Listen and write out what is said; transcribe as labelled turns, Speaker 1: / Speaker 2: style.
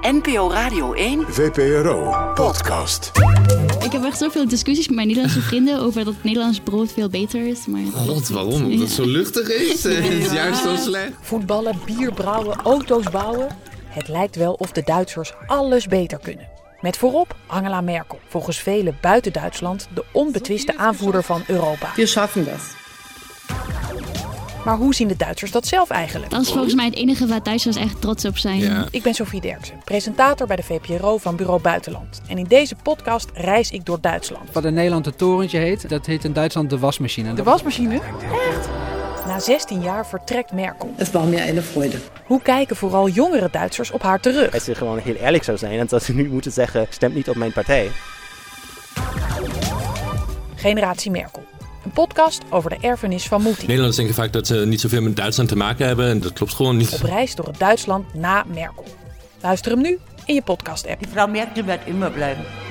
Speaker 1: NPO Radio 1
Speaker 2: VPRO Podcast.
Speaker 3: Ik heb echt zoveel discussies met mijn Nederlandse vrienden over dat het Nederlands brood veel beter is. Maar
Speaker 4: God, waarom? Omdat het zo luchtig is? eh, Het is juist zo slecht.
Speaker 5: Voetballen, bier brouwen, auto's bouwen. Het lijkt wel of de Duitsers alles beter kunnen. Met voorop Angela Merkel, volgens velen buiten Duitsland de onbetwiste aanvoerder van Europa.
Speaker 6: Wir schaffen das.
Speaker 5: Maar hoe zien de Duitsers dat zelf eigenlijk?
Speaker 3: Dat is volgens mij het enige waar Duitsers echt trots op zijn.
Speaker 4: Ja.
Speaker 5: Ik ben Sofie Derksen, presentator bij de VPRO van Bureau Buitenland. En in deze podcast reis ik door Duitsland.
Speaker 7: Wat in Nederland het torentje heet, dat heet in Duitsland de wasmachine.
Speaker 5: De wasmachine? Echt? Na 16 jaar vertrekt Merkel.
Speaker 6: Es war mir eine Freude.
Speaker 5: Hoe kijken vooral jongere Duitsers op haar terug?
Speaker 8: als ze gewoon heel eerlijk zou zijn en dat ze nu moeten zeggen: stemt niet op mijn partij.
Speaker 5: Generatie Merkel. Een podcast over de erfenis van Moetie.
Speaker 9: Nederlanders denken vaak dat ze niet zoveel met Duitsland te maken hebben. En dat klopt gewoon niet.
Speaker 5: Op reis door het Duitsland na Merkel. Luister hem nu in je podcast-app.
Speaker 10: Die Frau Merkel wird immer bleiben.